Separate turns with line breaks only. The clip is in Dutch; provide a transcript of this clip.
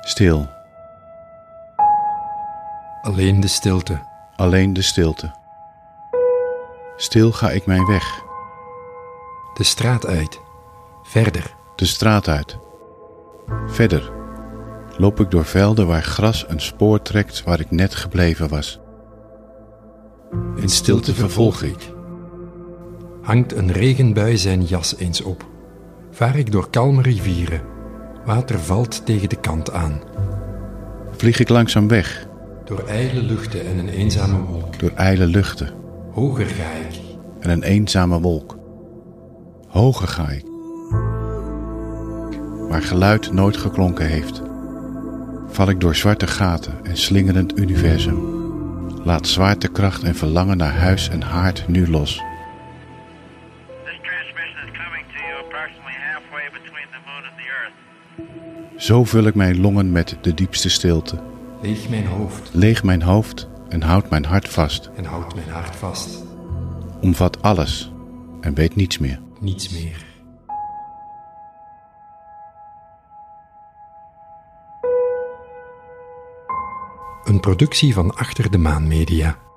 Stil,
Alleen de stilte.
alleen de stilte. Stil ga ik mijn weg,
De straat uit. Verder.
de straat uit. Verder loop ik door velden waar gras een spoor trekt waar ik net gebleven was.
In stilte vervolg ik. Hangt een regenbui zijn jas eens op. Vaar ik door kalme rivieren. Water valt tegen de kant aan.
Vlieg ik langzaam weg,
Door ijle luchten en een eenzame wolk.
door ijle luchten
Hoger ga ik.
en een eenzame wolk. Hoger ga ik, waar geluid nooit geklonken heeft. Val ik door zwarte gaten en slingerend universum. Laat zwaartekracht en verlangen naar huis en haard nu los.
This transmission is coming to you approximately halfway between the moon and the earth.
Zo vul ik mijn longen met de diepste stilte.
Leeg mijn hoofd
Leeg mijn hoofd en houd mijn hart vast.
en houd mijn hart vast.
Omvat alles en weet niets meer.
Niets meer. Een productie van Achter de Maan Media.